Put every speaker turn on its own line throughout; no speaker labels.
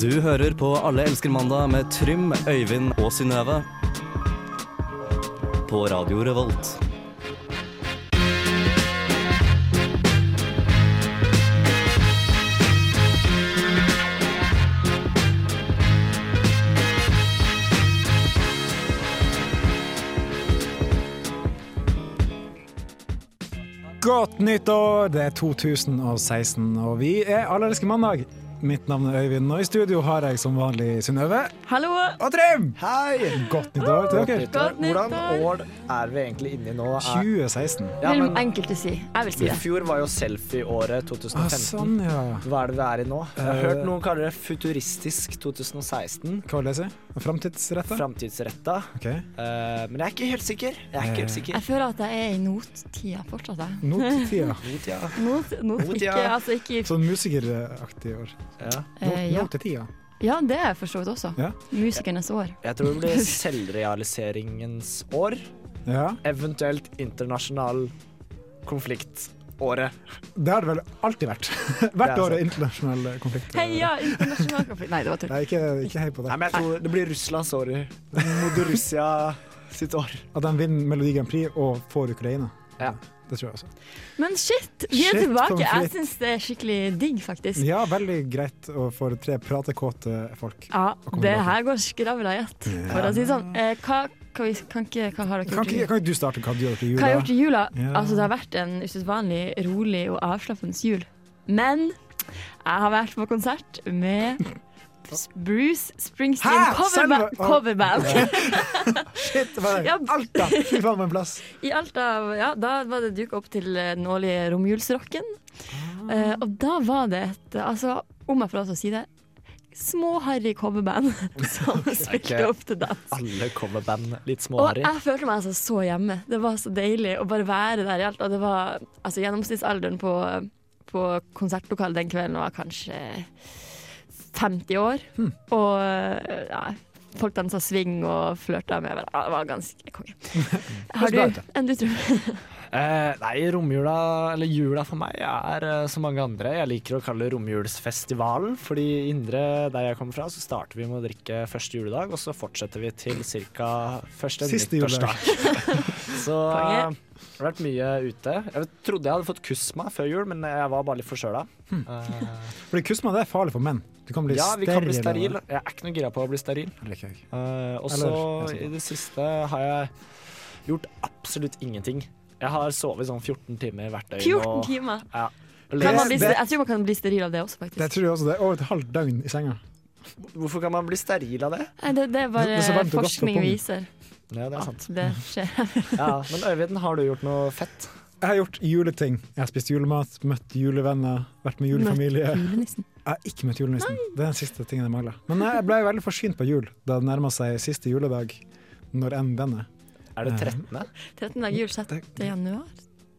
Du hører på Alle elsker mandag med Trym, Øyvind og Synnøve. På Radio Revolt.
Godt nyttår! Det er 2016, og vi er Allerske mandag. Mitt navn er Øyvind, og i studio har jeg som vanlig Synnøve
Hallo!
og Trym!
Hei!
Godt nyttår til dere.
Godt nyttår.
Hvordan år er vi egentlig inne i nå? Er,
2016.
ja,
Vil
men
enkelte si. Jeg vil si
I
det.
fjor var jo selfie-året
Ah,
2015.
sånn, ja. ja.
Hva er det vi er i nå? Jeg har
Eh,
hørt noen kalle det futuristisk 2016.
Hva vil jeg si? Framtidsretta?
Framtidsretta.
OK.
Eh, men jeg er ikke helt sikker. Jeg er ikke helt sikker.
Jeg føler at jeg er i nottida fortsatt. Jeg.
Notetida.
Mot, ja.
Not, not,
Nottida.
ikke, altså ikke i-
Sånn musikeraktig år.
Ja.
eh, ja.
Notetida.
ja, det er jeg for så vidt også.
Ja.
Musikernes år.
Jeg tror det blir selvrealiseringens år.
Ja.
Eventuelt internasjonal konflikt-året.
Det har det vel alltid vært.
Det
Hvert
er
år
sant.
er internasjonal konflikt.
Heia internasjonal konflikt! Nei, det var tull.
Nei, ikke, ikke hei på
Nei,
det.
men jeg tror det blir Russlands år. Modorussia sitt år.
At de vinner Melodi Grand Prix og får Ukraina.
Ja.
Det tror jeg også.
Men shit, vi er
Shit,
tilbake. Jeg
konflikt.
syns det er skikkelig digg, faktisk.
Ja, veldig greit å få tre pratekåte folk.
Ja,
kommer
det
tilbake.
her går skravla i ett, for å si det sånn. Eh, hva, hva, vi- kan ikke, hva har dere
Kan
gjort? i
ikke, kan ikke du starte hva du gjør til
Hva har jeg
jula?
gjort i jula?
Ja.
Altså, det har vært en usedvanlig rolig og avslappende jul. Men jeg har vært på konsert med s- Bruce Springsteen
Hæ?
coverba
Selve- Å.
coverband.
Shit, hva er det?
Ja.
Alta! Fy faen, for en plass.
I Alta, ja, da var det duka opp til eh, den årlige romjulsrocken.
Ah.
Eh, og da var det et Altså, om jeg får lov til å si det, småharry coverband som spilte
Ok.
opp til dans.
Alle coverband litt
Og
småharry.
jeg følte meg altså så hjemme. Det var så deilig å bare være der i Alta. Det var altså gjennomsnittsalderen på, på konsertlokalet den kvelden var kanskje 50 år.
Hmm.
Og ja, folk dansa swing og flørta med hverandre. Ja, Det var ganske konge. Har du
bra ut, da.
enn du tror?
Eh, nei, romjula, eller jula for meg, er eh, som mange andre. Jeg liker å kalle det romjulsfestivalen, fordi i Indre, der jeg kommer fra, så starter vi med å drikke første juledag, og så fortsetter vi til ca. første
Siste
nyttårsdag. så eh,
Konge.
det har vært mye ute. Jeg trodde jeg hadde fått kusma før jul, men jeg var bare litt forkjøla.
Hm.
Eh,
Fordi kusma det er farlig for menn. Du kan bli
ja, vi kan bli
steril.
steril. Jeg er ikke noe gira på å bli steril. Eh, og
Eller, jeg
så
er så
i
bra.
det siste har jeg gjort absolutt ingenting. Jeg har sovet sånn 14 timer hvert døgn.
14
og-
timer.
Ja.
Kan man
Det-
bli, steril- jeg tror man kan bli steril av det også,
Det
faktisk.
tror jeg også. Det er over et halvt døgn i senga.
Hvorfor kan man bli steril av det?
Nei, Det, det er
Det er så
bare
varmt og godt på
forskning
pungen.
viser
Ja, det er sant.
at det skjer.
Ja, men Øyvind, har du gjort noe fett?
Jeg har gjort juleting. Jeg har spist julemat, møtt julevenner, vært med julefamilie.
Julenissen.
Jeg har ikke møtt julenissen. Det er den siste tingen jeg mangler. Men jeg ble veldig forsynt på jul da det nærma seg siste juledag, når enn den er.
Er det
Eh,
13.?
13. dag jul, 6. januar.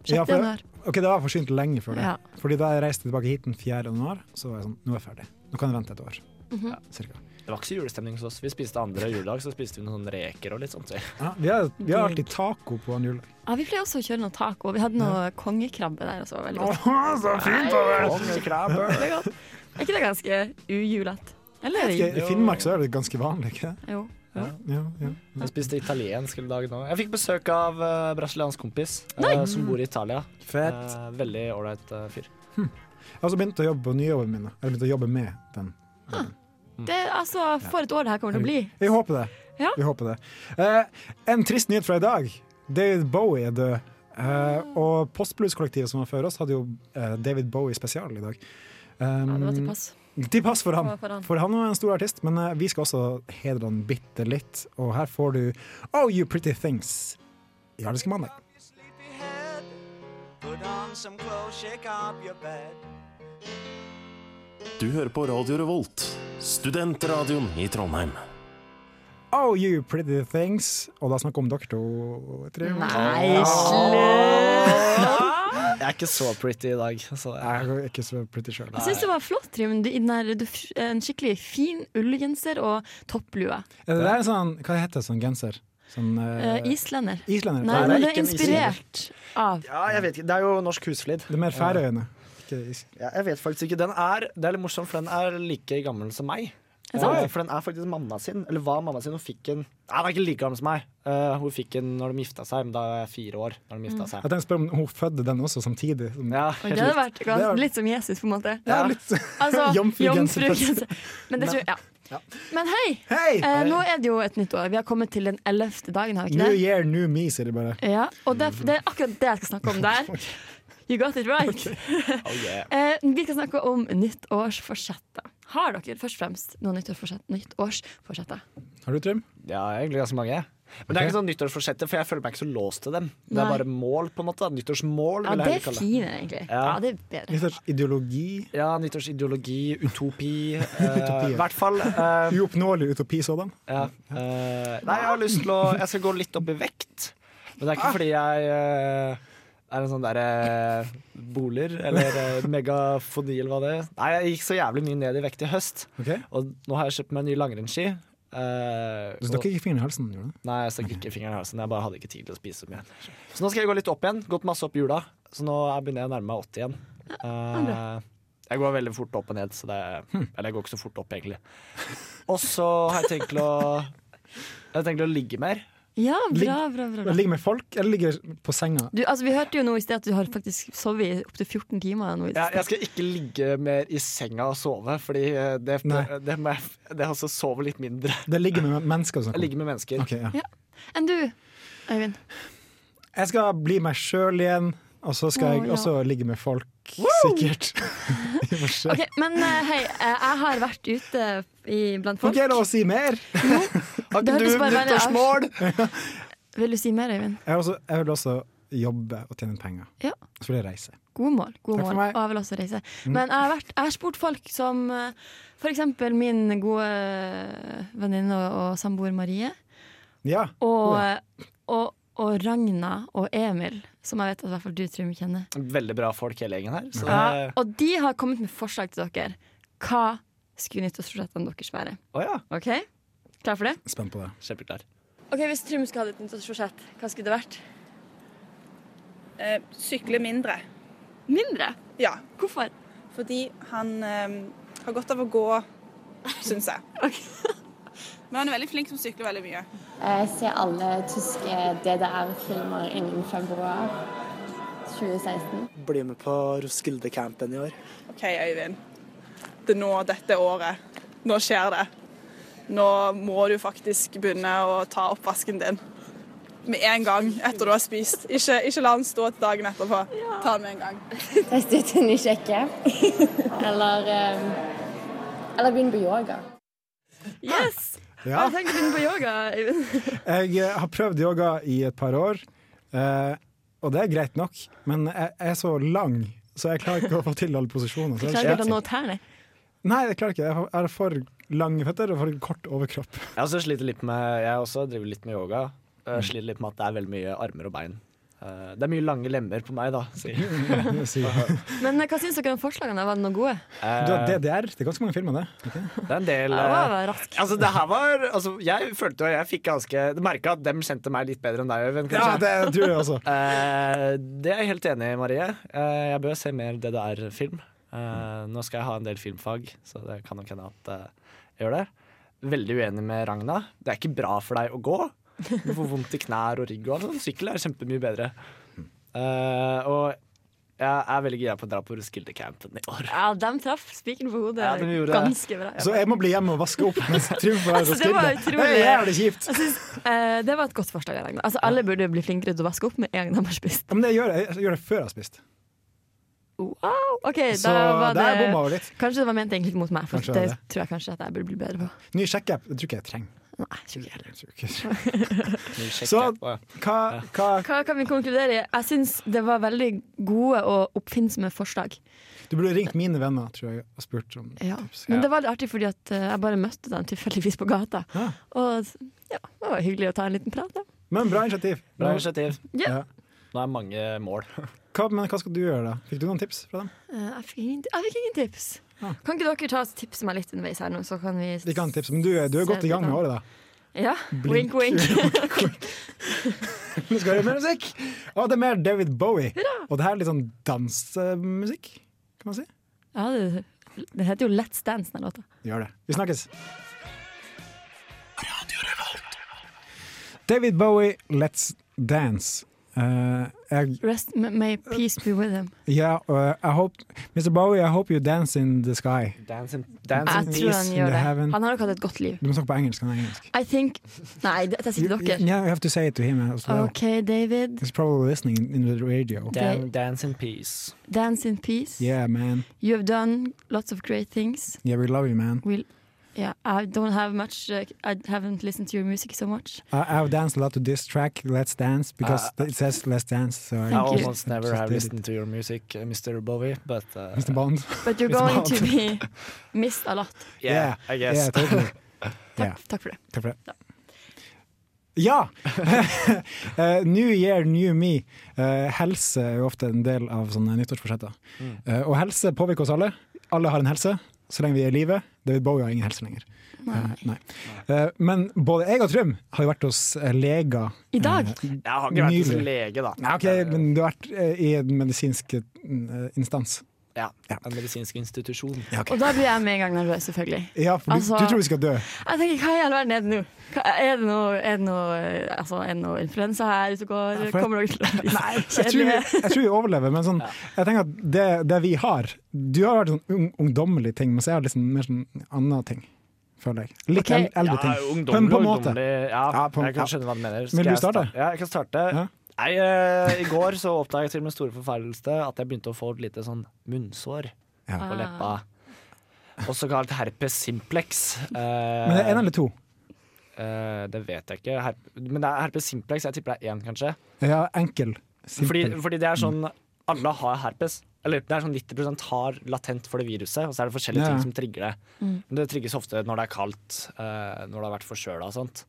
6.
Ja, for-
januar.
OK, det var forsynt lenge før det.
Ja.
Fordi da jeg reiste tilbake hit den 4. januar, så var jeg sånn Nå er jeg ferdig. Nå kan jeg vente et år.
Mhm.
Ja, cirka.
Det var ikke så julestemning hos oss. Vi spiste andre juledag, så spiste vi noen sånne reker og litt sånt.
Ja, vi, har, vi har alltid taco på en jul.
Ja, Vi pleier også å kjøre noe taco. Vi hadde noe kongekrabbe der. Også, veldig godt.
så fint!
Kongekrabbe.
Det er godt. Er ikke det ganske ujulete? Eller?
I i Finnmark så er det ganske vanlig, ikke det?
Jo.
Ja, ja.
Jeg spiste italiensk hele dagen òg. Jeg fikk besøk av uh, brasiliansk kompis eh, som bor i Italia. Eh, veldig ålreit eh, fyr.
Jeg har også begynt å jobbe på nyjobben min. Eller begynt å jobbe med den.
Det, er altså, for et år det her kommer til å bli.
Vi håper det.
Ja.
Vi håper det. Eh, en trist nyhet fra i dag. David Bowie er død. Eh, og Postblues-kollektivet som var før oss, hadde jo eh, David Bowie spesial i dag. Um,
Ja, det var til pass.
Til pass for
Det
han.
var for han.
For han var en stor artist, men eh, vi skal også hedre han bitte litt. Og her får du Oh You Pretty Things i Ardiske mandag.
your sleepy head. Put on some clothes, shake up your bed.
Du hører på Radio Revolt, studentradioen i Trondheim.
Oh You Pretty Things. Og da snakker vi om dere to. Tre.
Nei, slutt!
Jeg er ikke så pretty i dag. Så jeg
Jeg er ikke så pretty sjøl.
Jeg syns det var flott, Trym. Du, i den her- du, f- en skikkelig fin ullgenser og topplue.
Det er en sånn, hva heter sånn genser? Sånn
Eh,
eh,
islender.
islender? Nei,
Nei, men
det er
det er
ikke en
inspirert av
ja, jeg vet ikke. Det er jo norsk husflid.
Det er mer Færøyene. Ikke is.
Ja, jeg vet faktisk ikke. Den er, det er litt morsomt, for den er like gammel som meg.
Er det sant?
Ja, for den er faktisk mamma sin. Eller var mamma sin. Hun fikk en Nei, den er ikke like gammel som meg. Eh, hun fikk en når de gifta seg, men da var jeg fire år. Når de gifta seg.
Jeg tenkte å spørre om hun fødte den også samtidig. Som,
Ja,
Og
helt
Det hadde
likt.
vært gans-
Det er-
litt som Jesus, på en måte.
ja, litt
Altså,
jomfrugenser.
jomfrugenser. Men det tror jeg, ja. Men hei!
Hei!
Eh, nå er det jo et nytt år. Vi har kommet til den ellevte dagen, har vi
New
ikke det?
year, new me, sier de bare.
Ja, og det, det er akkurat det jeg skal snakke om der. You got it right.
Oh, yeah.
Eh, vi skal snakke om nyttårsforsetter. Har dere først og fremst noen nyttårsforsett, nyttårsforsetter?
Har du, Trym?
ja, egentlig ganske mange. Men det er
Ok.
ikke sånn nyttårsforsetter, for jeg føler meg ikke så låst til dem. Det
Nei.
er bare mål, på en måte. da. Nyttårsmål,
Ja,
vil
det er
jeg heller kalle det.
fine, egentlig. Ja,
Ja.
det er bedre.
Litt slags ideologi.
Ja, nyttårsideologi, utopi. eh,
Utopi, ja.
I hvert fall. eh,
Uoppnåelig utopi sådan.
ja. eh, nei, jeg har lyst til å Jeg skal gå litt opp i vekt. Men det er ikke fordi jeg eh, er en sånn derre boler, eller eh, megafoni, eller hva det er. Nei, jeg gikk så jævlig mye ned i vekt i høst,
Ok?
og nå har jeg kjøpt meg en ny langrennsski. eh,
Du
og-
stakk ikke fingeren i halsen? Gjorde du? det?
Nei, jeg stakk ikke fingeren i halsen. Jeg bare hadde ikke tid til å spise så mye. Så nå skal jeg gå litt opp igjen. Gått masse opp i jula. Så nå er- begynner jeg å nærme meg 80 igjen. Eh, jeg går veldig fort opp og ned, så det
Hm.
Eller jeg går ikke så fort opp, egentlig. Og så har jeg tenkt til å Jeg har tenkt til å ligge mer.
Ja, bra, bra, bra. bra.
Ligger med folk, eller ligger på senga?
Du, altså, vi hørte jo nå i sted at du har faktisk sovet i opptil 14 timer. Nå i
Jeg,
sted.
jeg skal ikke ligge mer i senga og sove, fordi eh, det,
Nei.
det må jeg Det er også sove litt mindre.
Det ligger med mennesker. Som
Jeg ligger med mennesker.
Ok, ja.
Enn du, Øyvind?
Jeg skal bli meg sjøl igjen, og så skal
Å,
jeg
ja.
også ligge med folk, sikkert. I og for seg.
Ok, men eh, hei, eh, jeg har vært ute i, blant folk.
OK, la oss si mer.
Har
Det
ikke du
hørtes bare veldig
nyttårsmål?
Vil du si mer, Øyvind?
Jeg, vil også, jeg vil også jobbe og tjene penger.
Ja.
Så vil jeg reise.
Gode mål. Gode
Takk for
mål.
meg. Mm.
Og jeg vil også reise. Men jeg har, vært, jeg har spurt folk som eh, For eksempel min gode eh, venninne og, og samboer Marie.
Ja.
Og,
Oh,
og, og Ragna og Emil, som jeg vet at i hvert fall du, Trym, kjenner.
Veldig bra folk hele gjengen her. Så
Ja, og de har kommet med forslag til dere. Hva skulle nyttårsforsettene deres være?
Å ja.
OK? Klar for det?
Spent på det.
Kjempeklar.
Ok, Hvis Trym skulle hatt et nyttårsforsett, hva skulle det vært?
Eh, sykle mindre.
Mindre?
Ja,
Hvorfor?
fordi han eh, har godt av å gå, syns jeg. Men han er veldig flink som sykler veldig mye.
Eh, Jeg ser alle tyske DDR-filmer innen februar 2016.
Bli med på Roskilde-campen i år.
OK, Øyvind. Det er nå dette året. Nå skjer det. Nå må du faktisk begynne å ta oppvasken din. Med en gang etter du har spist. Ikke, ikke la den stå til dagen etterpå. Ta den med en gang.
Teste ut en ny kjekke. Eller, um, eller begynne på yoga.
Yes!
Ja.
Jeg tenkte å begynne på yoga. Øyvind.
Jeg eh, har prøvd yoga i et par år, eh, og det er greit nok, men jeg jeg er så lang, så jeg klarer ikke å få til alle posisjoner. Så
Jeg
jeg
klarer ikke å
sliter.
nå tærne.
Nei, jeg klarer ikke. Jeg har- jeg har for lange føtter og for kort overkropp.
Jeg også sliter litt med Jeg også driver litt med yoga. Jeg sliter litt med at det er veldig mye armer og bein. Eh, Det er mye lange lemmer på meg, da. sier jeg.
Si.
Men eh, hva syns dere om forslagene? Var det noe gode?
Du har
Eh,
DDR. Det er ganske mange filmer, det.
Det er en del
Det
eh,
var rask.
Altså, det her var altså, Jeg følte jo jeg fikk ganske Du merka at dem kjente meg litt bedre enn deg, Øyvind,
Ja,
kanskje.
det tror jeg også.
Eh, det er jeg helt enig i, Marie. Eh, jeg bør se mer DDR-film.
Mm.
Eh, nå skal jeg ha en del filmfag, så det kan nok hende at eh, jeg gjør det. Veldig uenig med Ragna. Det er ikke bra for deg å gå. Du får vondt i knær og rygg. og alt sånt. Sykkel er kjempemye bedre.
Mm.
Eh, og jeg er veldig gira på å dra på Roskilde-campen i år.
Ja, de traff spikeren på hodet
Ja, de gjorde det.
ganske bra.
Så jeg må bli hjemme og vaske opp mens Trym får være
Altså, det var
Roskilde.
utrolig.
Det er jævlig kjipt.
Jeg synes, eh, det var et godt forslag. Ragnar. Altså, alle burde bli flinkere til å vaske opp med en gang de har spist.
Ja, Men det gjør jeg. Jeg gjør det før jeg har spist.
Wow, ok,
Så
da var
der
det
bomma jeg litt.
Kanskje det var ment egentlig mot meg, for
Kanskje
det
det var
tror jeg kanskje at jeg burde bli bedre på.
Ny sjekkeapp. Det tror ikke jeg trenger.
Nei, jeg tror ikke jeg.
Jeg tror ikke-
Ny sjekk
Så-
etterpå.
Hva, hva
Hva kan vi konkludere i? Jeg syns det var veldig gode og oppfinnsomme forslag.
Du burde ringt mine venner tror jeg, og spurt om
Ja.
tips.
Men det var litt artig fordi at eh, jeg bare møtte dem tilfeldigvis på gata.
Ja.
Og ja, det var hyggelig å ta en liten prat, da.
Men bra initiativ.
Bra initiativ.
Ja.
Ja.
Nå er mange mål.
Hva, men hva skal du gjøre, da? Fikk du noen tips fra dem?
Eh, Jeg fikk ingen, jeg fikk ingen tips.
Ah.
Kan ikke dere ta og tipse meg litt underveis her nå, så kan vi
Ikke noen tips, men du, er- du er godt i gang med året, da.
Ja, wink, wink.
Nå skal vi høre mer musikk! Og det er mer David Bowie. Og det her er litt sånn dansemusikk, kan man si.
ja, det Den heter jo Let's Dance, den låta.
Gjør det. Vi snakkes. David Bowie, Let's Dance. Eh, jeg,
Rest m- may peace be with him.
ja, og jeg håper- Mr. Bowie, I hope you dance in the sky.
Dance in,
Jeg tror
peace
han
in the
gjør det.
heaven.
Han har nok hatt et godt liv.
Du må snakke på engelsk. Han er engelsk.
I think Nei, dette sier
You,
dere.
yeah, you have to say it to him as well.
OK, David.
He's probably listening in, in the radio.
Dan-
dance in peace.
Dance in peace.
Yeah, man.
You have done lots of great things.
Yeah, we love you, man.
We'll, yeah, I don't have much. Uh, I haven't listened to your music so much.
I, I've danced a lot to this track, Let's Dance, because
Uh,
it says Let's Dance. So I
I
Ah. Thank you.
almost never
just
have
did it.
listened to your music, uh, Mr. Bowie, but uh,
Mr. Bond.
But you're
It's
going
about-
to be missed a lot.
yeah, I guess.
Yeah, totally.
Takk,
Ja.
takk for det.
Takk for det. Ja! Eh, new year, new me. Eh, helse er jo ofte en del av sånne nyttårsforsetter. Eh, og helse påvirker oss alle. Alle har en helse så lenge vi er i live. David Bowie har ingen helse lenger. Eh, nei. Eh, men både jeg og Trym har jo vært hos eh, leger.
I dag?
Eh,
Jeg har ikke vært hos
Nydelig.
lege, da.
Nei, OK, men du har vært eh, i en medisinsk eh, instans.
Ja,
Ja.
En medisinsk institusjon.
Ja, ok.
Og da blir jeg med en gang nervøs, selvfølgelig.
Ja, for du,
Altså-
du tror vi skal dø.
Jeg tenker, Hva i all verden er det nå? Hva, er, det noe, er, det noe, eh, altså, er det noe influensa her ute og går?
Ja, for jeg-
Kommer dere til å bli
Nei, jeg tror, vi,
kjedelige?
jeg tror vi overlever, men sånn, jeg tenker at det, det vi har Du har vært sånn ung, ungdommelig ting, mens jeg har liksom mer sånn annen ting, føler jeg. Litt
Ok.
el- eldre ting.
ungdommelig,
Men på en måte.
ungdommelig, Ja,
Ja, på en-
jeg kan
ja.
skjønne hva du mener.
Vil du
jeg
starte?
Ja, jeg kan starte.
Ja.
Nei, eh, I går så oppdaget jeg til min store forferdelse at jeg begynte å få et lite sånn munnsår
Ja.
på leppa. Også kalt herpes simplex. Eh,
Men det er én eller to?
eh, det vet jeg ikke. Herp men det er herpes simplex. Jeg tipper det er én, kanskje.
Ja, enkel.
Fordi,
Simpel.
fordi det er sånn Alle har herpes. Eller det er sånn 90 har latent for det viruset, og så er det forskjellige
Ja.
ting som trigger det. Men det trigges ofte når det er kaldt, eh, når det har vært forkjøla og sånt.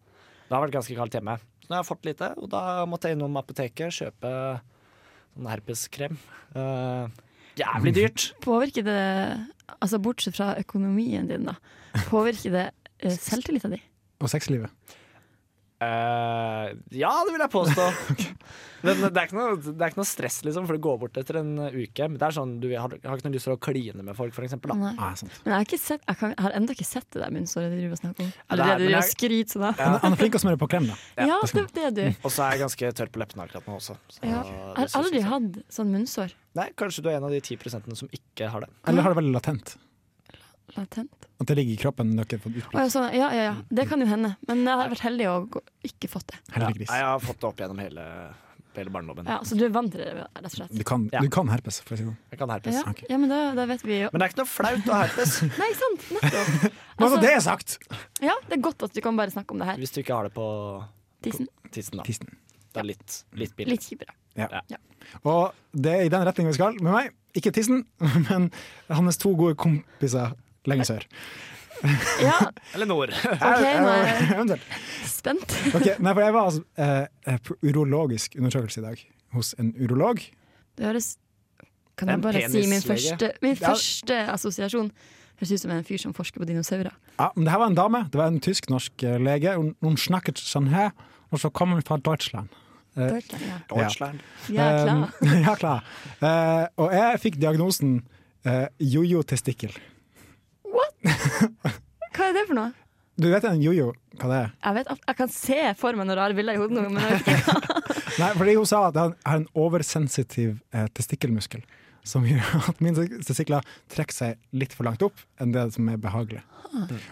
Det har vært ganske kaldt hjemme. Så nå har jeg fått lite, og da måtte jeg innom apoteket kjøpe sånn herpeskrem. Eh, jævlig dyrt!
Påvirker det, altså bortsett fra økonomien din, da, påvirker det eh, selvtilliten din?
Og sexlivet.
Eh, ja, det vil jeg påstå. Men det er, ikke noe, det er ikke noe stress, liksom, for det går bort etter en uke. Men det er sånn, du jeg har, jeg har ikke noe lyst til å kline med folk, for eksempel. Da.
Nei.
Ah, sant.
Men jeg har, ikke sett, jeg kan, jeg har enda ikke sett det der munnsåret du driver og snakker om.
Ja, det er-
Eller det du
men
driver og
jeg-
skryter sånn av.
Han, han er flink til å smøre på krem, da.
Ja, det, det er du.
Og så er jeg ganske tørr på leppene akkurat nå også. Så
Ja.
det
Jeg har
synes
aldri
jeg-
hatt sånn munnsår.
Nei, Kanskje du er en av de 10 som ikke har det.
Eller har det veldig latent.
Latent.
At det ligger i kroppen. Dere har fått
Å,
utbrudd.
ja, sånn, ja, ja, ja. Det kan jo hende. Men jeg har vært heldig og gå- ikke fått det.
Heldiggris.
Nei, jeg har fått det opp gjennom hele, hele barndommen.
Ja, så du er vant til det, rett og slett.
Du kan,
Ja.
du kan herpes, for å si det sånn.
Jeg kan herpes.
Ja,
Ok.
ja men da, da vet vi jo
Men det er ikke noe flaut å ha herpes
Nei, sant! Nettopp.
Bare
Altså-
så det er sagt!
Ja, det er godt at du kan bare snakke om det her.
hvis du ikke har det på
Tissen.
tissen. da
Tissen.
Det er litt, litt billig.
Litt kjipere.
Og det er i den retningen vi skal med meg. Ikke tissen, men hans to gode kompiser lenger sør.
Ja,
Eller nord.
OK, nå er jeg
Eventuelt.
spent.
Ok, nei, for jeg var altså, eh, på urologisk undersøkelse i dag hos en urolog.
Det høres Kan
En
jeg bare si min
penislege.
første, min
Ja.
første assosiasjon? Høres ut som en fyr som forsker på dinosaurer.
Ja, men det her var en dame, det var en tysk-norsk eh, lege. Hun, hun snakket sånn her, og så kom hun fra Deutschland.
Ja,
Deutschland.
ja klar.
Eh, ja, klar. Eh, og jeg fikk diagnosen eh, jojo-testikkel.
Hva er det for noe?
Du vet en jojo, hva det er?
Jeg, vet, at- jeg kan se for meg noen rare bilder i hodet nå, men jeg vet ikke.
Nei, fordi hun sa at jeg har en oversensitiv eh, testikkelmuskel. Som gjør at mine testikler trekker seg litt for langt opp enn det som er behagelig.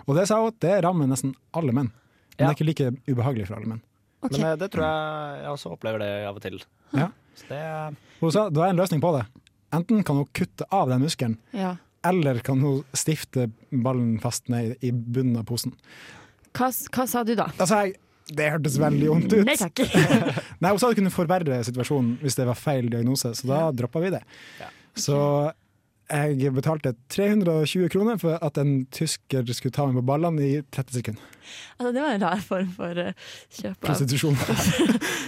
Og det sa hun at det rammer nesten alle menn. Men det
Ja.
er ikke like ubehagelig for alle menn.
Ok.
Men eh, det tror jeg jeg også opplever det av og til.
Ja.
Så det
Hun sa det var en løsning på det. Enten kan hun kutte av den muskelen,
Ja.
eller kan hun stifte ballen fast ned i bunnen av posen.
Hva, s- hva sa du da?
Altså, jeg, det hørtes veldig vondt ut.
Nei takk.
Nei, Hun sa det kunne forverre situasjonen hvis det var feil diagnose, så da droppa vi det.
Ja.
Så jeg betalte 320 kroner for at en tysker skulle ta meg på ballene i 30 sekunder.
Altså, det var en rar form for eh, kjøp av
Prostitusjon.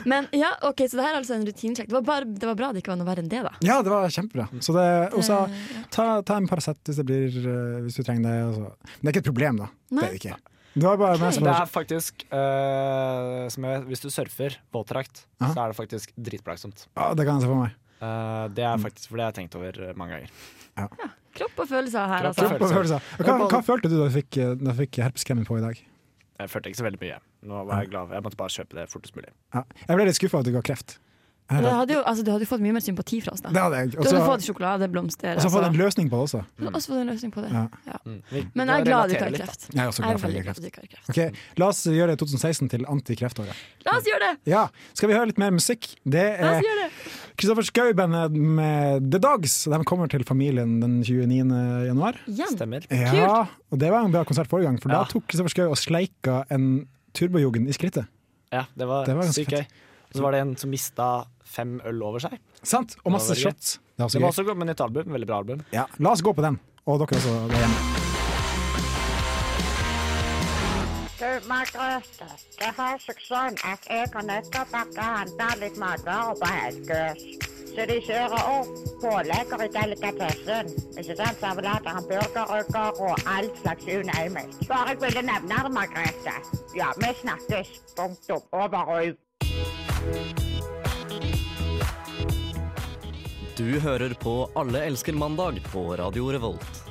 Men ja, ok, så det her er altså en rutinesjekk. Det, var bare- det var bra det ikke var noe verre enn det, da.
Ja, det var kjempebra. Så det, hun sa
Eh,
ta, ta en Paracet hvis, det blir, eh, hvis du trenger det. og så- Men det er ikke et problem, da. Det er
Nei.
det ikke. Det var bare meg
Ok.
som
Det er faktisk, eh, som jeg vet, hvis du surfer våtdrakt,
Aha.
så er det faktisk dritplagsomt.
Ja, det kan jeg se for meg.
Eh, det er faktisk fordi jeg har tenkt over mange ganger.
Kropp og følelser her,
Kropp og
altså.
Hva, hva, hva følte du da du fikk, eh, da du fikk herpeskremen på i dag?
Jeg følte ikke så veldig mye. Nå var jeg glad. Jeg måtte bare kjøpe det fortest mulig.
Ja. Jeg ble litt skuffa at du ga kreft.
Men Du hadde jo altså, du hadde jo fått mye mer sympati fra oss, da.
Det hadde jeg.
Du
Og så
hadde
og
fått sjokolade, blomster
så har jeg fått en
altså.
løsning på det også.
Og så fått en løsning på det.
Ja.
Ja.
Vi-
Men
det
jeg er glad du
Mm. relaterer
ikke har
litt,
kreft.
Jeg er også
Jeg er
glad for at
veldig
jeg ga
glad
kreft.
du ikke har kreft.
Ok, La oss gjøre 2016 til antikreftåret.
La oss gjøre det!
Ja, skal vi høre litt mer musikk? Det
La
er
oss gjøre det!
Kristoffer Schou-bandet med The Dogs. De kommer til familien den 29. januar.
da.
Igjen.
Stemmer.
Ja, og det var en bra konsert forrige gang, for
Ja.
da tok Kristoffer Schou og sleika en turbojugend i skrittet.
Ja, det var,
Det var ganske
sykt gøy. Og så var det en som mista fem øl over seg.
Sant? Og masse
Det var veldig gøy.
shots. Det var
Det
også
var
gøy.
også godt med nytt album. Veldig bra album.
Ja, la oss gå på den. Og dere også der hjemme.
Du, Margrethe, det har seg sånn at jeg har nettopp har handla litt matvarer på Helgøs. Så de kjører opp pålegger i delikatessen. Ikke sant? Servelater, hamburgerrygger og all slags you name it. Bare jeg ville nevne det, Margrethe. Ja, vi snakkes. Punktum. Over og ut.
Du hører på Alle elsker mandag på Radio Revolt.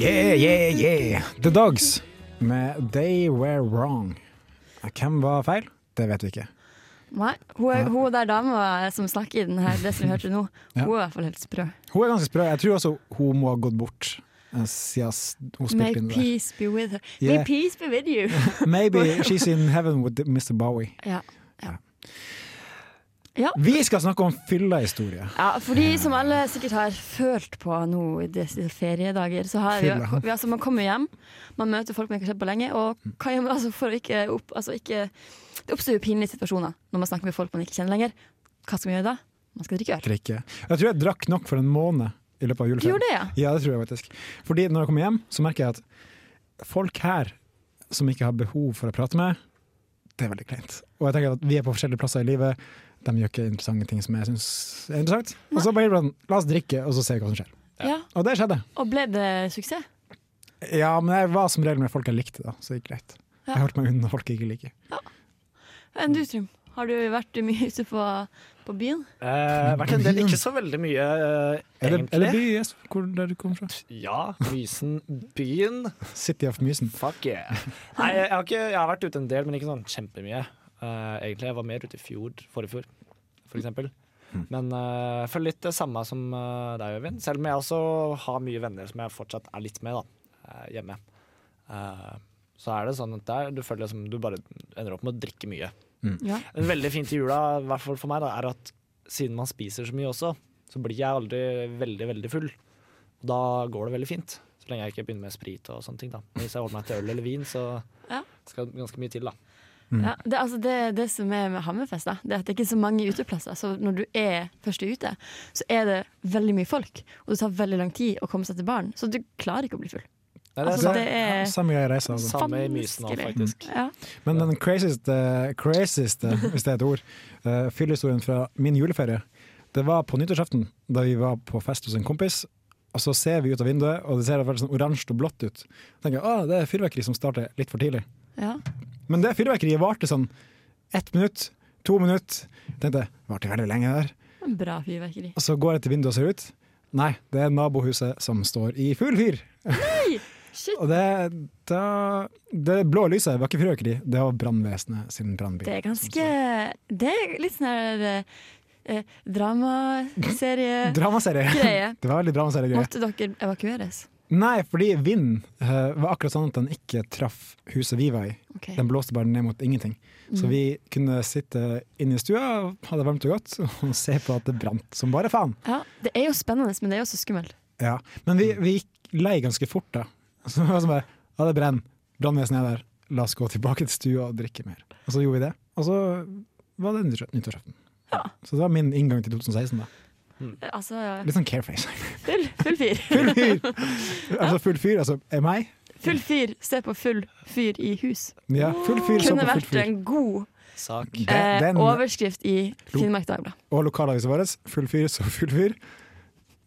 Yeah, yeah, yeah. The Dogs med They Were Wrong. Hvem var feil? Det vet vi ikke.
Nei, hun, er- hun der dama som snakker i den her, det som vi hørte nå,
Ja.
hun er i hvert fall helt sprø.
Hun er ganske sprø. Jeg tror også hun må ha gått bort eh, siden s- hun
May
spilte inn det.
peace be with her.
Yeah.
May peace be with you.
der. Maybe she's in heaven with Mr. Bowie.
Ja. Ja.
Vi skal snakke om fyllehistorie.
ja, fordi som alle sikkert har følt på nå i disse feriedager, så har vi,
Fylla.
vi altså, man kommer hjem, man møter folk man ikke har sett på lenge, og hva gjør man altså for å ikke opp... Altså ikke det oppstår jo pinlige situasjoner når man snakker med folk man ikke kjenner lenger. Hva skal man gjøre da? Man skal drikke øl.
Drikke. Jeg tror jeg drakk nok for en måned i løpet av
Du gjorde
juleferien.
det, ja?
Ja, det tror jeg faktisk. Fordi når jeg kommer hjem, så merker jeg at folk her som ikke har behov for å prate med, det er veldig kleint. Og jeg tenker at vi er på forskjellige plasser i livet, de gjør ikke interessante ting som jeg syns er interessant. Og så bare sånn, la oss drikke, og så ser vi hva som skjer.
ja?
Og det skjedde.
Og ble det suksess?
Ja, men jeg var som regel med folk jeg likte, da, så det gikk greit. Jeg holdt meg unna folk jeg ikke liker.
Enn du, Trym? Har du vært mye ute på, på byen?
Eh, vært en del ikke så veldig mye, eh,
Er det, er det by
egentlig.
yes, hvor der du kommer fra?
Ja, Mysen, byen.
City of Mysen.
Fuck yeah. Nei, jeg har, ikke, jeg har vært ute en del, men ikke sånn kjempemye. Eh, egentlig. Jeg var mer ute i fjor, forrige fjor, for eksempel. Men eh, jeg føler litt det samme som eh, deg, Øyvind. Selv om jeg også har mye venner som jeg fortsatt er litt med, da. eh, hjemme. Eh, så er det sånn at der, du føler liksom du bare ender opp med å drikke mye.
Ja.
En veldig fint i jula, i hvert fall for meg, da, er at siden man spiser så mye også, så blir jeg aldri veldig, veldig full. Og da går det veldig fint. Så lenge jeg ikke begynner med sprit og sånne ting, da. Men hvis jeg holder meg til øl eller vin, så
Ja.
skal det ganske mye til, da.
Mm.
Ja, det, altså det, det som er med Hammerfest, da, det er at det ikke er så mange uteplasser. Så når du er først ute, så er det veldig mye folk, og det tar veldig lang tid å komme seg til baren. Så du klarer ikke å bli full.
Nei, det er
Altså,
sant.
det er
Samme greie reise, altså.
Samme i Mysen nå,
vanskelig.
faktisk.
Ja.
Men den crazieste, crazieste eh, hvis det er et ord, uh, fyllehistorien fra min juleferie, det var på nyttårsaften, da vi var på fest hos en kompis. Og så ser vi ut av vinduet, og det ser veldig sånn oransje og blått ut. Da tenker jeg, ah, Det er fyrverkeri som starter litt for tidlig.
Ja.
Men det fyrverkeriet varte sånn ett minutt, to minutt. tenkte jeg, varte veldig lenge der.
En Bra fyrverkeri.
Og så går jeg til vinduet og ser ut. Nei, det er nabohuset som står i full fyr.
Shit,
Og det, da, det blå lyset var ikke fyrverkeri, det var brannvesenet sin brannbil.
det er ganske Det er litt sånn her eh, dramaserie-greie.
Dramaserie. Det var veldig dramaserie-greie.
Måtte dere evakueres?
Nei, fordi vinden eh, var akkurat sånn at den ikke traff huset vi var i.
Ok. Mm.
Den blåste bare ned mot ingenting. Så vi kunne sitte inne i stua, ha det varmt og godt, og se på at det brant som bare faen.
Ja, det er jo spennende, men det er jo også skummelt.
Ja. Men
Mm.
vi, vi gikk lei ganske fort da. Så det var sånn bare, ja det brenner, brannvesenet er der, la oss gå tilbake til stua og drikke mer. Og så gjorde vi det, og så var det nyttår- nyttårsaften. Så det var min inngang til 2016 da.
Altså,
Litt sånn careface.
full, full fyr.
Full fyr! altså full fyr, altså er meg.
Full fyr, se på full fyr i hus.
Ja, full fyr, så
Kunne
på full
vært
fyr.
en god
Sak.
Den-
eh,
den-
overskrift i Finnmark Dagblad.
og lokalavisen vår, Full fyr, så full fyr.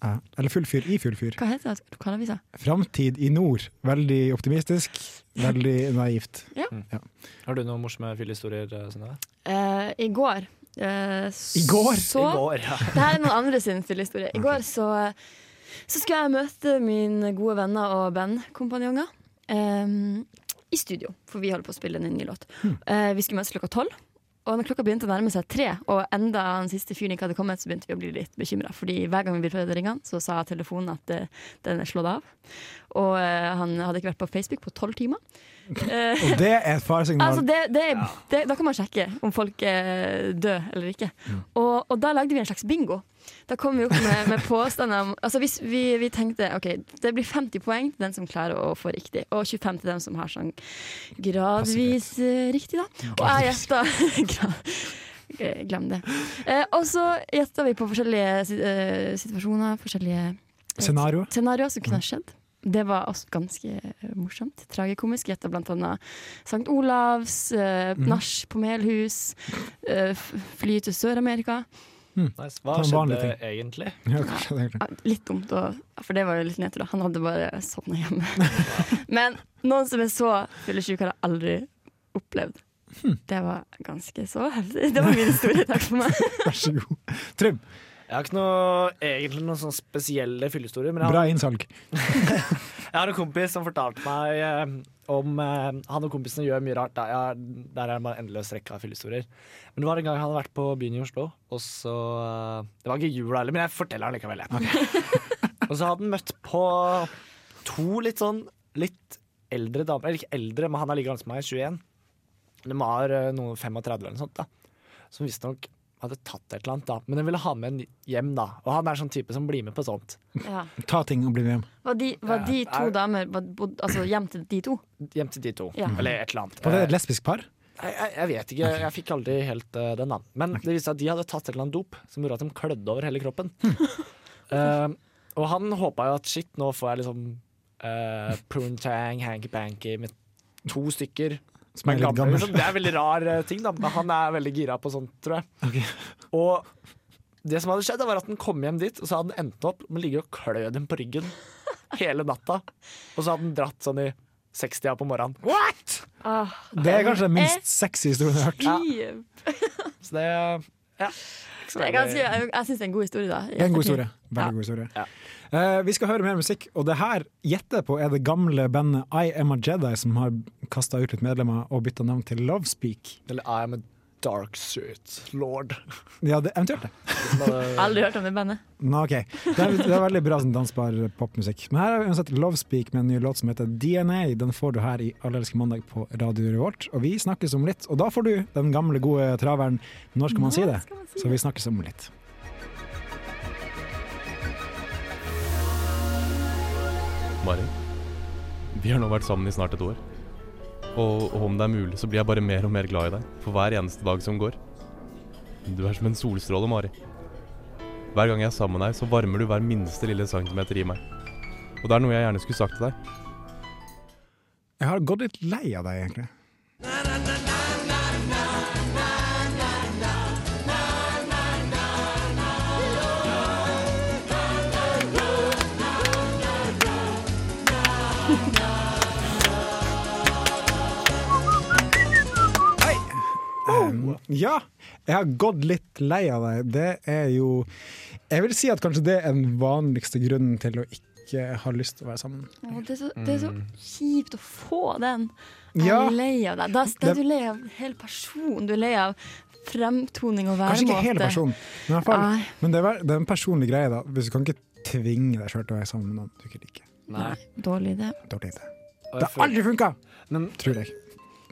Ja. Eller Full fyr i Full fyr.
Hva heter det? lokalavisa?
Framtid i nord. Veldig optimistisk, veldig naivt.
Ja.
Har du noen morsomme fyllehistorier, Synnøve?
Eh, I går eh, s-
I går?
Så,
I går, ja.
Det her er noen andre sin fyllehistorie. I går så, så skulle jeg møte mine gode venner og bandkompanjonger eh, i studio, for vi holder på å spille inn en ny låt.
Hmm.
Eh, vi skulle møtes klokka tolv. Og når klokka begynte å nærme seg tre, og enda den siste fyren ikke hadde kommet, så begynte vi å bli litt bekymra. Fordi hver gang vi prøvde å ringe han, så sa telefonen at eh, den er slått av. Og eh, han hadde ikke vært på Facebook på tolv timer. Eh,
Og det er et faresignal.
Altså det, det, det, da kan man sjekke om folk er døde eller ikke. Og, og da lagde vi en slags bingo. Da kom vi opp med, med påstander om altså hvis vi, vi tenkte ok, det blir 50 poeng til den som klarer å få riktig, og 25 til den som har sånn gradvis eh, riktig, da. Og jeg gjetta Gra- Glem det. Eh, og så gjetta vi på forskjellige si- eh, situasjoner, forskjellige
Scenario.
scenarioer som kunne ha skjedd. Det var også ganske eh, morsomt. Tragikomisk gjetta bl.a. St. Olavs, eh,
Mhm.
nach på Melhus, eh, f- fly til Sør-Amerika.
Nice. Hva
Ta en vanlig
skjedde egentlig?
Ja, kanskje det er
Ja, litt dumt, å- for det var jo litt nedtur. da. Han hadde bare sovna hjemme. Men noen som er så fyllesyk, har jeg aldri opplevd.
Hm.
Det var ganske så heftig. Det var min historie. Takk for meg.
klart. Vær så god. Trym,
Jeg har ikke noe, egentlig noen sånn spesielle fyllehistorier, men jeg,
bra innsalg.
jeg har en kompis som fortalte meg eh, om eh, Han og kompisene gjør mye rart. Der er, der er det bare en endeløs rekke av fyllehistorier. Men det var en gang han hadde vært på byen i Oslo, og så eh, Det var ikke jula heller, men jeg forteller han likevel. jeg. og så hadde han møtt på to litt sånn litt eldre damer. Eller ikke eldre, men han er like gammel som meg, 21. De var eh, noen 35 eller noe sånt, da. Som visstnok hadde tatt et eller annet, da. Men de ville ha med en hjem, da. Og han er sånn type som blir med på sånt.
Ja.
Ta ting og bli med hjem.
Var, de, var de
Ja,
to damer var, bodd, altså, hjem til de to?
Hjem til de to.
Ja.
Eller et eller annet.
Var det et lesbisk par?
Jeg, jeg, jeg vet ikke, jeg fikk aldri helt eh, den da. Men det viste seg at de hadde tatt et eller annet dop som gjorde at de klødde over hele kroppen. Eh, og han håpa jo at shit, nå får jeg liksom uh, poontang, hanky-panky med to stykker.
Som er
Men
litt
gammel,
gammel.
liksom. Det er veldig rar eh, ting, da. Men han er veldig gira på sånt, tror jeg. Og det som hadde skjedd, da, var at han kom hjem dit, og så hadde han endt opp med å ligge og klø dem på ryggen hele natta. Og så hadde han dratt sånn i 60-a på morgenen. What?!
Ah,
Det er kanskje den minst sexy historien jeg har hørt.
Kiev.
Så det ja. Ikke så
Det er
veldig-
ganske, jeg jeg syns det er en god historie, da. i
Det er en god
ettertid.
historie.
Ja.
Veldig god historie. Eh, vi skal høre mer musikk, og det her gjetter jeg på er det gamle bandet I Am A Jedi som har kasta ut litt medlemmer og bytta navn til Lovespeak.
Eller I am a dark suit lord.
Ja, det, eventuelt det.
Aldri hørt om det bandet.
Nå, ok. Det er, det er veldig bra sånn dansbar popmusikk. Men her er uansett Lovespeak med en ny låt som heter DNA. Den får du her i Allelske mandag på Radio Revolt. Og vi snakkes om litt, og da får du den gamle, gode traveren Når skal man si det? Så vi snakkes om litt.
Mari, vi har nå vært sammen i snart et år. Og, og om det er mulig, så blir jeg bare mer og mer glad i deg for hver eneste dag som går. Du er som en solstråle, Mari. Hver gang jeg er sammen med deg, så varmer du hver minste lille centimeter i meg. Og det er noe jeg gjerne skulle sagt til deg.
Jeg har gått litt lei av deg, egentlig. Um, ja, jeg har gått litt lei av deg. Det er jo Jeg vil si at kanskje det er den vanligste grunnen til å ikke ha lyst til å være sammen.
Å, det, er så, det er så kjipt å få den. Jeg
Mm. Ja.
er lei av deg. Da, da
Det-
er du lei av en hel person. Du er lei av fremtoning og væremåte.
Kanskje ikke hele personen, men, i hvert fall,
Nei.
men det, er, vel- det er en personlig greie. da Hvis Du kan ikke tvinge deg sjøl til å være sammen med noen du ikke liker.
Nei.
Dårlig idé.
Dårlig idé. Det
Og jeg
har
føler-
aldri funka!
Men
Tror jeg.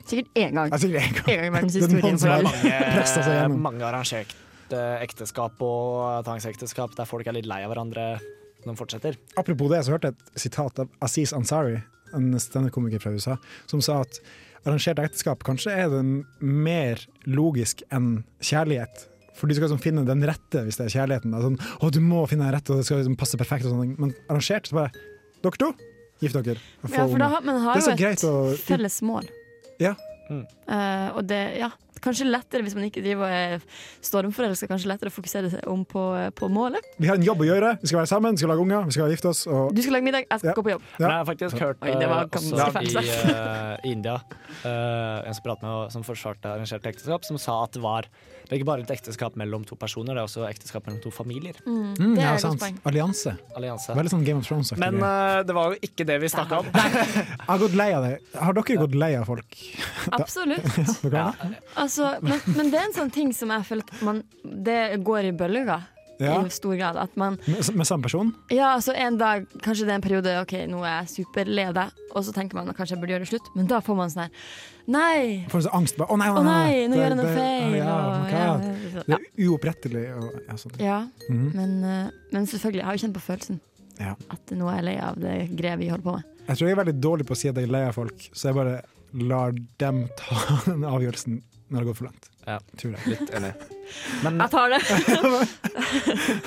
Sikkert én gang.
Altså, jeg
En gang i
Det er noen
verdenshistorien.
som
for
er
alle.
presset seg
mange,
gjennom.
mange arrangerte ekteskap og tvangsekteskap der folk er litt lei av hverandre når de fortsetter.
Apropos det, så hørte jeg et sitat av Aziz Ansari, en standup-komiker fra USA, som sa at arrangert ekteskap kanskje er den mer logisk enn kjærlighet. For du skal liksom finne den rette hvis det er kjærligheten. da. Sånn, å, du må finne den rette, og det skal liksom passe perfekt. og sånne ting. Men arrangert, så bare Dere to, gift dere. og få
Ja, for da
unger.
har, man
Det
har
er
jo
så greit
et
å-
felles mål.
Ja,
Mm.
Eh, og det, ja, kanskje lettere hvis man ikke driver og er stormforelska, kanskje lettere å fokusere seg om på, på målet.
Vi har en jobb å gjøre, vi skal være sammen, vi skal lage unger, vi skal gifte oss. Og...
Du skal lage middag, jeg skal
Ja.
gå på jobb.
Ja.
Men jeg har faktisk hørt
Oi, det var
eh,
ganske
også i
fælt.
eh, India eh, en som pratet med som forsvarte arrangert ekteskap, som sa at det var det er ikke bare et ekteskap mellom to personer, det er også ekteskap mellom to familier.
Mm,
Mm, ja, sant. Allianse.
Allianse.
Veldig sånn Game of Thrones-aktig.
Men
greie.
eh, det var jo ikke det vi snakka om.
Jeg har gått lei av det. Har dere gått lei av folk?
Absolutt.
Ja, dere har det?
Altså, men, men det er en sånn ting som jeg føler at man Det går i bølger
Ja.
i stor grad. At man
Med, med samme person?
Ja, altså en dag, kanskje det er en periode Ok, nå er jeg superleda Og så tenker man at kanskje jeg burde gjøre det slutt Men da får man sånn her Nei,
Får sånn angst. Bare, å nei,
Å nei, nå
det-
gjør jeg noe
det- ah,
feil,
Ja,
og-
oh my
ja,
God. det er uopprettelig. Og, ja, sånn.
ja
Mhm.
men, eh, men selvfølgelig, jeg har jo kjent på følelsen
Ja.
At nå er jeg lei av det greia vi holder på med
Jeg tror jeg er veldig dårlig på å si at jeg er lei av folk, så jeg bare lar dem ta den avgjørelsen når det har gått for langt.
Ja,
Tror jeg.
litt enig. Men,
Jeg tar det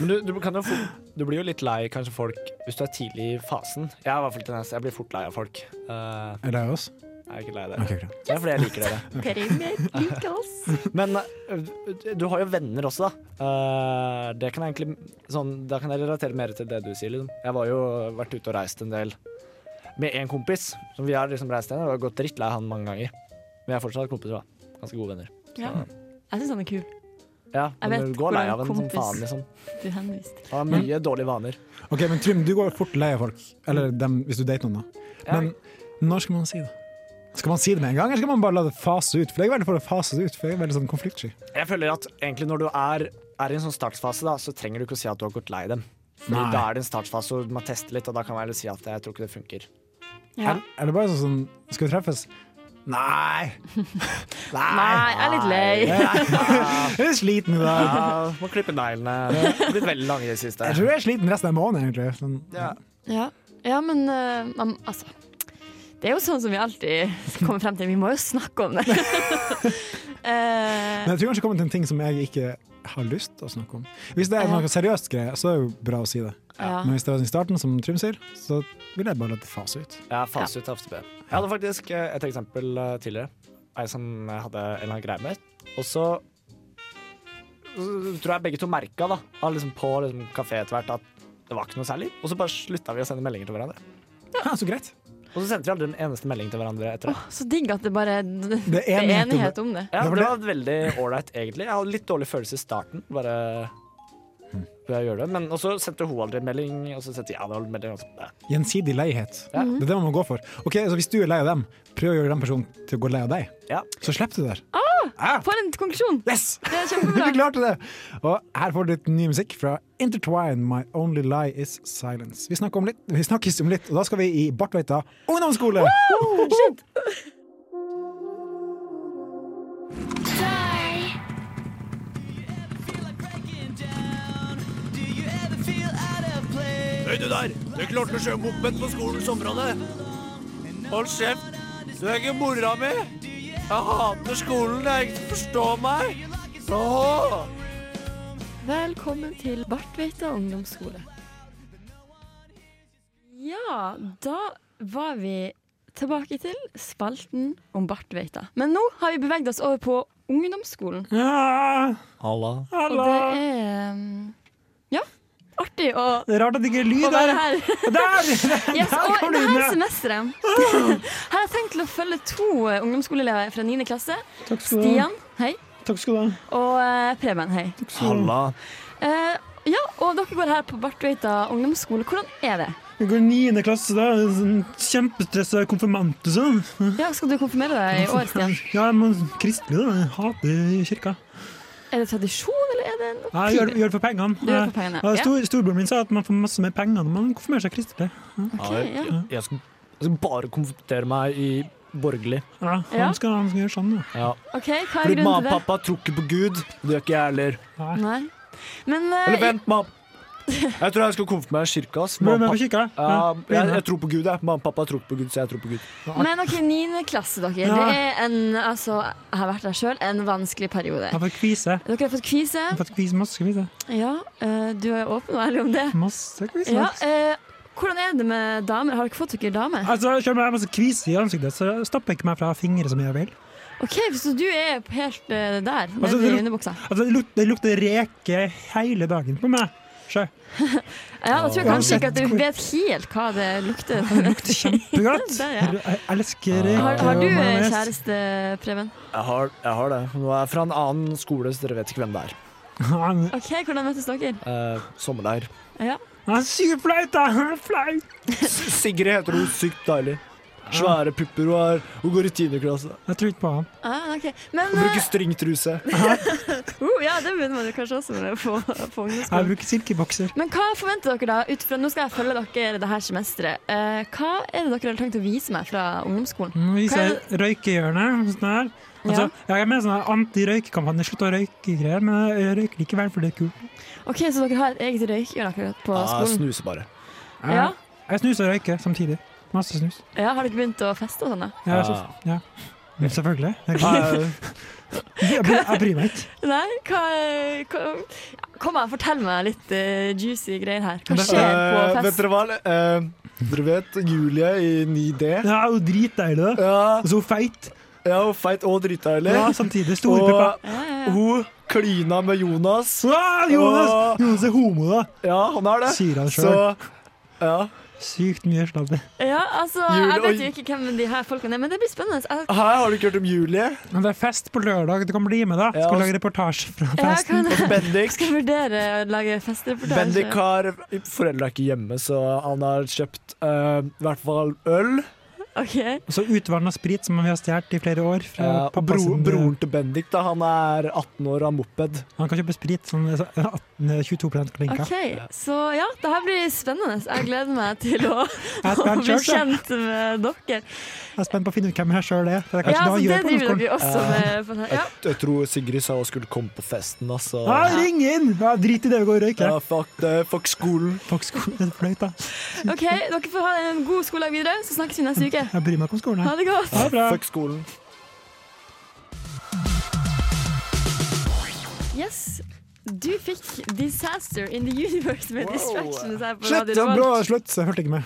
men du, du, kan jo fort, du blir jo litt lei kanskje folk hvis du er tidlig i fasen. Jeg er i hvert fall tendens, jeg blir fort lei av folk. Eh,
Er det oss?
jeg er ikke lei av
Ok,
dere.
greit.
Det er fordi jeg liker dere.
Peringer liker oss
Men eh, du har jo venner også, da. Eh, det kan jeg egentlig sånn, Da kan jeg relatere mer til det du sier. Liksom. Jeg var jo vært ute og reist en del med en kompis. Som vi har liksom reist til, og jeg har gått drittlei han mange ganger. Men jeg er fortsatt kompiser, da. Ganske gode venner.
ja. Jeg synes han er kul
Ja,
Jeg
men
vet
du går lei
hvordan
av en som
kompis-
faen, liksom.
Du henviste
Han har mye dårlige vaner.
Ok, men Trym, du går fort lei av folk. Eller dem, hvis du dater noen, da. Men når skal man si det? Skal man si det med en gang, eller skal man bare la det fase ut? For jeg er veldig for å fase det ut, for jeg er veldig sånn konfliktsky.
Jeg føler at egentlig når du er, er i en sånn startfase, da, så trenger du ikke å si at du har gått lei dem. Fordi
Nei.
da er det en startfase hvor man tester litt, og da kan man heller si at jeg tror ikke det funker.
ja.
Er, er det bare sånn sånn Skal vi treffes? Nei!
Nei, jeg er litt lei
Jeg er sliten i dag.
Ja, må klippe neglene. Blitt veldig lange i det siste.
Jeg tror jeg er sliten resten av måneden, egentlig. Sånn,
Ja.
Ja, ja men eh, man, altså Det er jo sånn som vi alltid kommer frem til Vi må jo snakke om det Eh,
Men jeg tror kanskje det kommer til en ting som jeg ikke har lyst til å snakke om. Hvis det er noe seriøst greie, så er det jo bra å si det.
Ja.
Men hvis det var i starten, som Trym sier, så vil jeg bare la det fase ut.
Ja, fase ut FTP. Jeg hadde faktisk eh, et eksempel eh, tidligere. Ei som jeg hadde en eller annen greie med. Og så så tror jeg begge to merka da, av liksom på liksom, kafé etter hvert at det var ikke noe særlig. Og så bare slutta vi å sende meldinger til hverandre.
Ja, så greit.
Og så sendte vi aldri en eneste melding til hverandre etter det.
Så digg at det bare det
Det
er
er enighet om
enighet om det.
Ja,
det
det
var
var, veldig ålreit, egentlig. Jeg hadde litt dårlig følelse i starten. Bare bør jeg gjøre det. Men og så sendte hun aldri en melding, og så sendte jeg aldri en melding. Og så, eh.
Gjensidig leihet.
Ja.
Det er det man må gå for. Ok, så Hvis du er lei av dem, prøv å gjøre den personen til å gå lei av deg.
Ja.
Så slipper du det der.
For en konklusjon!
Yes!
Det er
Vi
kjempebra.
klarte det! Og her får du litt ny musikk fra Intertwine, My Only Lie Is Silence. Vi, snakker om litt, vi snakkes om litt, og da skal vi i Bartveita ungdomsskole!
Høy, du der! Du klarte å kjøre moped på skolens område. Hold kjeft! Du er ikke mora mi! Jeg hater skolen, jeg ikke forstår meg! Åh!
Velkommen til Bartveita ungdomsskole. Ja, da var vi tilbake til spalten om Bartveita. Men nå har vi beveget oss over på ungdomsskolen.
Ja,
Og det er um, ja, artig å,
det er rart at det ikke er lyd
å være her.
Der! Der
Yes, og
kom
det
du
her
inn, ja.
semesteret Her har jeg tenkt til å følge to eh, ungdomsskoleelever fra 9. klasse. Stian, hei.
Takk skal du ha.
Og eh, Preben, hei.
Halla.
Eh, ja, og dere går her på Bartveita ungdomsskole. Hvordan er det?
Jeg går i niende klasse, da. sånn Kjempestressa konfirmant og sånn.
Ja, Skal du konfirmere deg i år, Stian?
Ja, jeg må kristelig, da. Jeg hater kirka.
Er det tradisjon, eller er det en
Nei, Jeg gjør, gjør det for pengene.
Du gjør det for pengene,
Ja,
ja.
stor, storebroren min sa at man får masse mer penger når man konfirmerer seg kristelig.
Ok, ja.
Jeg skal, jeg skal bare konfrontere meg i borgerlig.
Ja, han,
Ja.
Skal, han skal gjøre sånn, ja.
Ja.
Ok, Hva er
Fordi mamma
grunnen
og
til det?
pappa tror ikke på Gud. Det gjør ikke jeg heller.
Nei. Men eh,
Eller vent, mamma. Jeg tror jeg skal konfirmere meg i kirka. ass.
Blir du med
Mamma og
på
pappa-
kirka?
Ja, jeg, jeg tror på Gud, jeg. Mamma og pappa tror ikke på Gud, så jeg tror på Gud.
men ok, 9. klasse, dere.
Ja.
Det er en, altså, jeg har vært der sjøl, en vanskelig periode.
Jeg har fått kvise.
Dere har fått kvise.
Jeg har fått kvise, masse kvise.
Ja, eh, du er åpen og ærlig om det.
Masse kvise.
Ja, eh, hvordan er det med damer? Har dere fått dere dame?
Altså, selv om jeg har masse kvise i ansiktet, så stopper jeg ikke meg fra fingre som jeg vil.
Å OK, så du er helt eh, der,
Altså,
nede i
det-
underbuksa.
Altså, det, lukter, det lukter reke hele dagen på meg. Sjø.
Ja, da tror jeg
Ja.
kanskje ikke at du vet helt hva det lukter. Det lukter
kjempegodt.
Der, ja.
Jeg jeg elsker reke.
Har, har du
og
eh,
majones.
kjæreste, Preben?
Jeg har, jeg har det. Hun er fra en annen skole, så dere vet ikke hvem det er.
OK, hvordan møttes dere?
Eh, sommerleir.
Ja.
Sykt flaut, da! Flaut!
Sigrid heter hun. Sykt deilig. Svære pupper hun har. Hun går i tiendeklasse.
Jeg tror ikke på han.
Ah, ok. Men
Hun
eh,
bruker stringtruse.
oh, ja, det begynner man jo kanskje også med på, på
Jeg
ungdomsskolen.
bruker silkebokser.
Men hva forventer dere da? Ut fra, nå skal jeg følge dere det her semesteret. Eh, hva er det dere har tenkt å vise meg fra ungdomsskolen?
Nå
Hva
viser
er
jeg røykehjørnet. Sånn her. altså, Jeg er med i sånne anti-røykekampanje, slutt å røyke-greier, men jeg røyker likevel, for det er kult.
OK, så dere har et eget røykehjørne akkurat på
Ja,
skolen?
Snuser bare.
Jeg,
Ja.
Eh, jeg snuser og røyker samtidig. Masse snus.
Ja, Har dere begynt å feste og sånn? da?
Ja, jeg synes- ja. Men Selvfølgelig. Jeg,
Ja, Ah. ja,
jeg, bryr, jeg bryr meg ikke.
Nei, hva, hva Kom her, fortell meg litt eh, juicy greier her. Hva
Det-
skjer på
Eh, Vet
fest?
dere hva? Eh, dere vet Julie i 9D?
Ja, hun dritdeilig.
Ja.
Og så feit.
Ja, hun feit og dritdeilig.
Ja, samtidig. Store
Og
pupper.
hun klina med Jonas.
Ah, Jonas!
Og-
Jonas er homo, da.
Ja, han er det.
Sier han
Så-
sjøl. Sykt mye sladder.
Ja, altså,
Jul
Jeg
og-
vet jo ikke hvem de her folkene er, men det blir spennende. Jeg,
Ah,
Her har du ikke hørt om Julie.
Men det er fest på lørdag, du kan bli med, da. Skal lage reportasje fra
jeg
festen.
kan, skal vurdere å lage festreportasje.
Bendik har Foreldre er ikke hjemme, så han har kjøpt eh, i hvert fall øl.
Og så utvanna sprit som vi har stjålet i flere år. Fra
Ja, og
pappa
bro,
sin, eh,
broren til Bendik da, han er 18 år og har moped.
Han kan kjøpe sprit som er så- 18, 22 klinka.
OK, så ja, det her blir spennende. Jeg gleder meg til å,
Jeg
å
skal
bli
kjøre, da.
kjent med dere.
Jeg er spent på å finne ut hvem jeg sjøl er. For det er kanskje
Ja,
det
så
han gjør
det
på
driver dere
ungdomsskolen.
også med. På den her. Ja.
Jeg, jeg tror Sigrid sa hun skulle komme på festen, altså.
Ja, ring inn! Ja, drit i det, vi går og røyker.
Ja, fuck det, fuck skolen.
Fuck skolen, det er flaut, da.
OK, dere får ha en god skoledag videre, så snakkes vi neste uke.
Jeg bryr meg ikke om skolen.
Ha det godt.
Ha det bra.
Fuck skolen.
Yes. Du fikk 'Disaster in the Universe' med Distractions her på
Slutt!
Radio
Ja, bra,
Revolt.
slutt, så jeg hørte ikke med.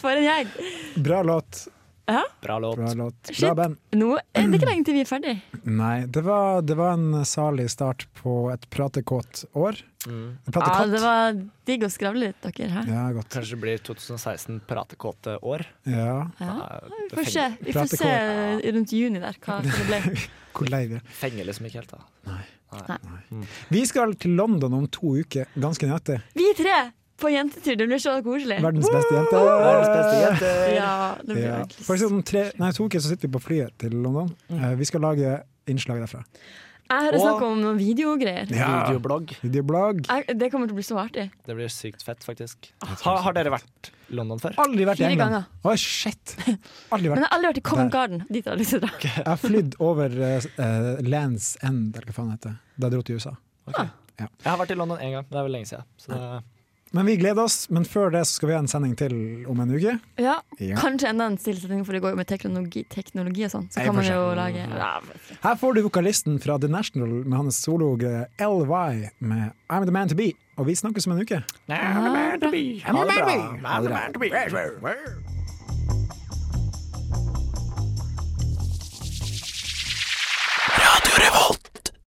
For en gjeng.
Bra låt.
Ja.
Bra låt.
Bra, låt.
Shit.
Bra band.
Nå er det ikke lenge til vi er ferdig.
Nei, det var, det var en salig start på et pratekåt år. En
Mm. Ja,
Pratekatt.
det var digg å skravle litt, dere her.
Ja, godt.
Kanskje det blir 2016 pratekåte år.
Ja.
Ja,
det
vi får se,
fenger-
vi får se eh, rundt juni der hva det ble.
Hvor lei vi er.
Fenger liksom ikke helt, da.
Nei.
Vi skal til London om to uker, ganske nøyaktig.
Vi tre på jentetur, det blir så koselig.
Verdens beste jenter!
eh,
Ja, det blir
Ja.
ordentlig.
Faktisk om tre, nei, to uker så sitter vi på flyet til London.
Mm.
Eh, Vi skal lage innslag derfra.
Jeg hører
Og-
snakk om noen videogreier.
Videoblogg.
Videoblogg.
Jeg, det kommer til å bli så artig.
Det blir sykt fett, faktisk. Ha, har dere vært i London før?
Aldri vært i
Fire
England.
ganger.
Oi, shit! Aldri
Men jeg
vært
har aldri vært i Covent
der.
Garden. Dit har jeg lyst til å dra.
Jeg har flydd over uh, Lands End, eller hva faen det heter. Da jeg dro til USA.
Jeg har vært i London én gang, men det er vel lenge siden. Så det,
Men vi gleder oss. Men før det så skal vi ha en sending til om en uke.
Ja,
Ja.
Kanskje enda en stillsetning, for det går jo med teknologi, teknologi og sånn. Så
Nei,
kan man
for
jo
seg.
lage ja,
Her får du vokalisten fra The National med hans sologreie LY med I'm the man to be. Og vi snakkes om en uke.
I'm the man to be.
I'm the man to be.
I'm the man to be.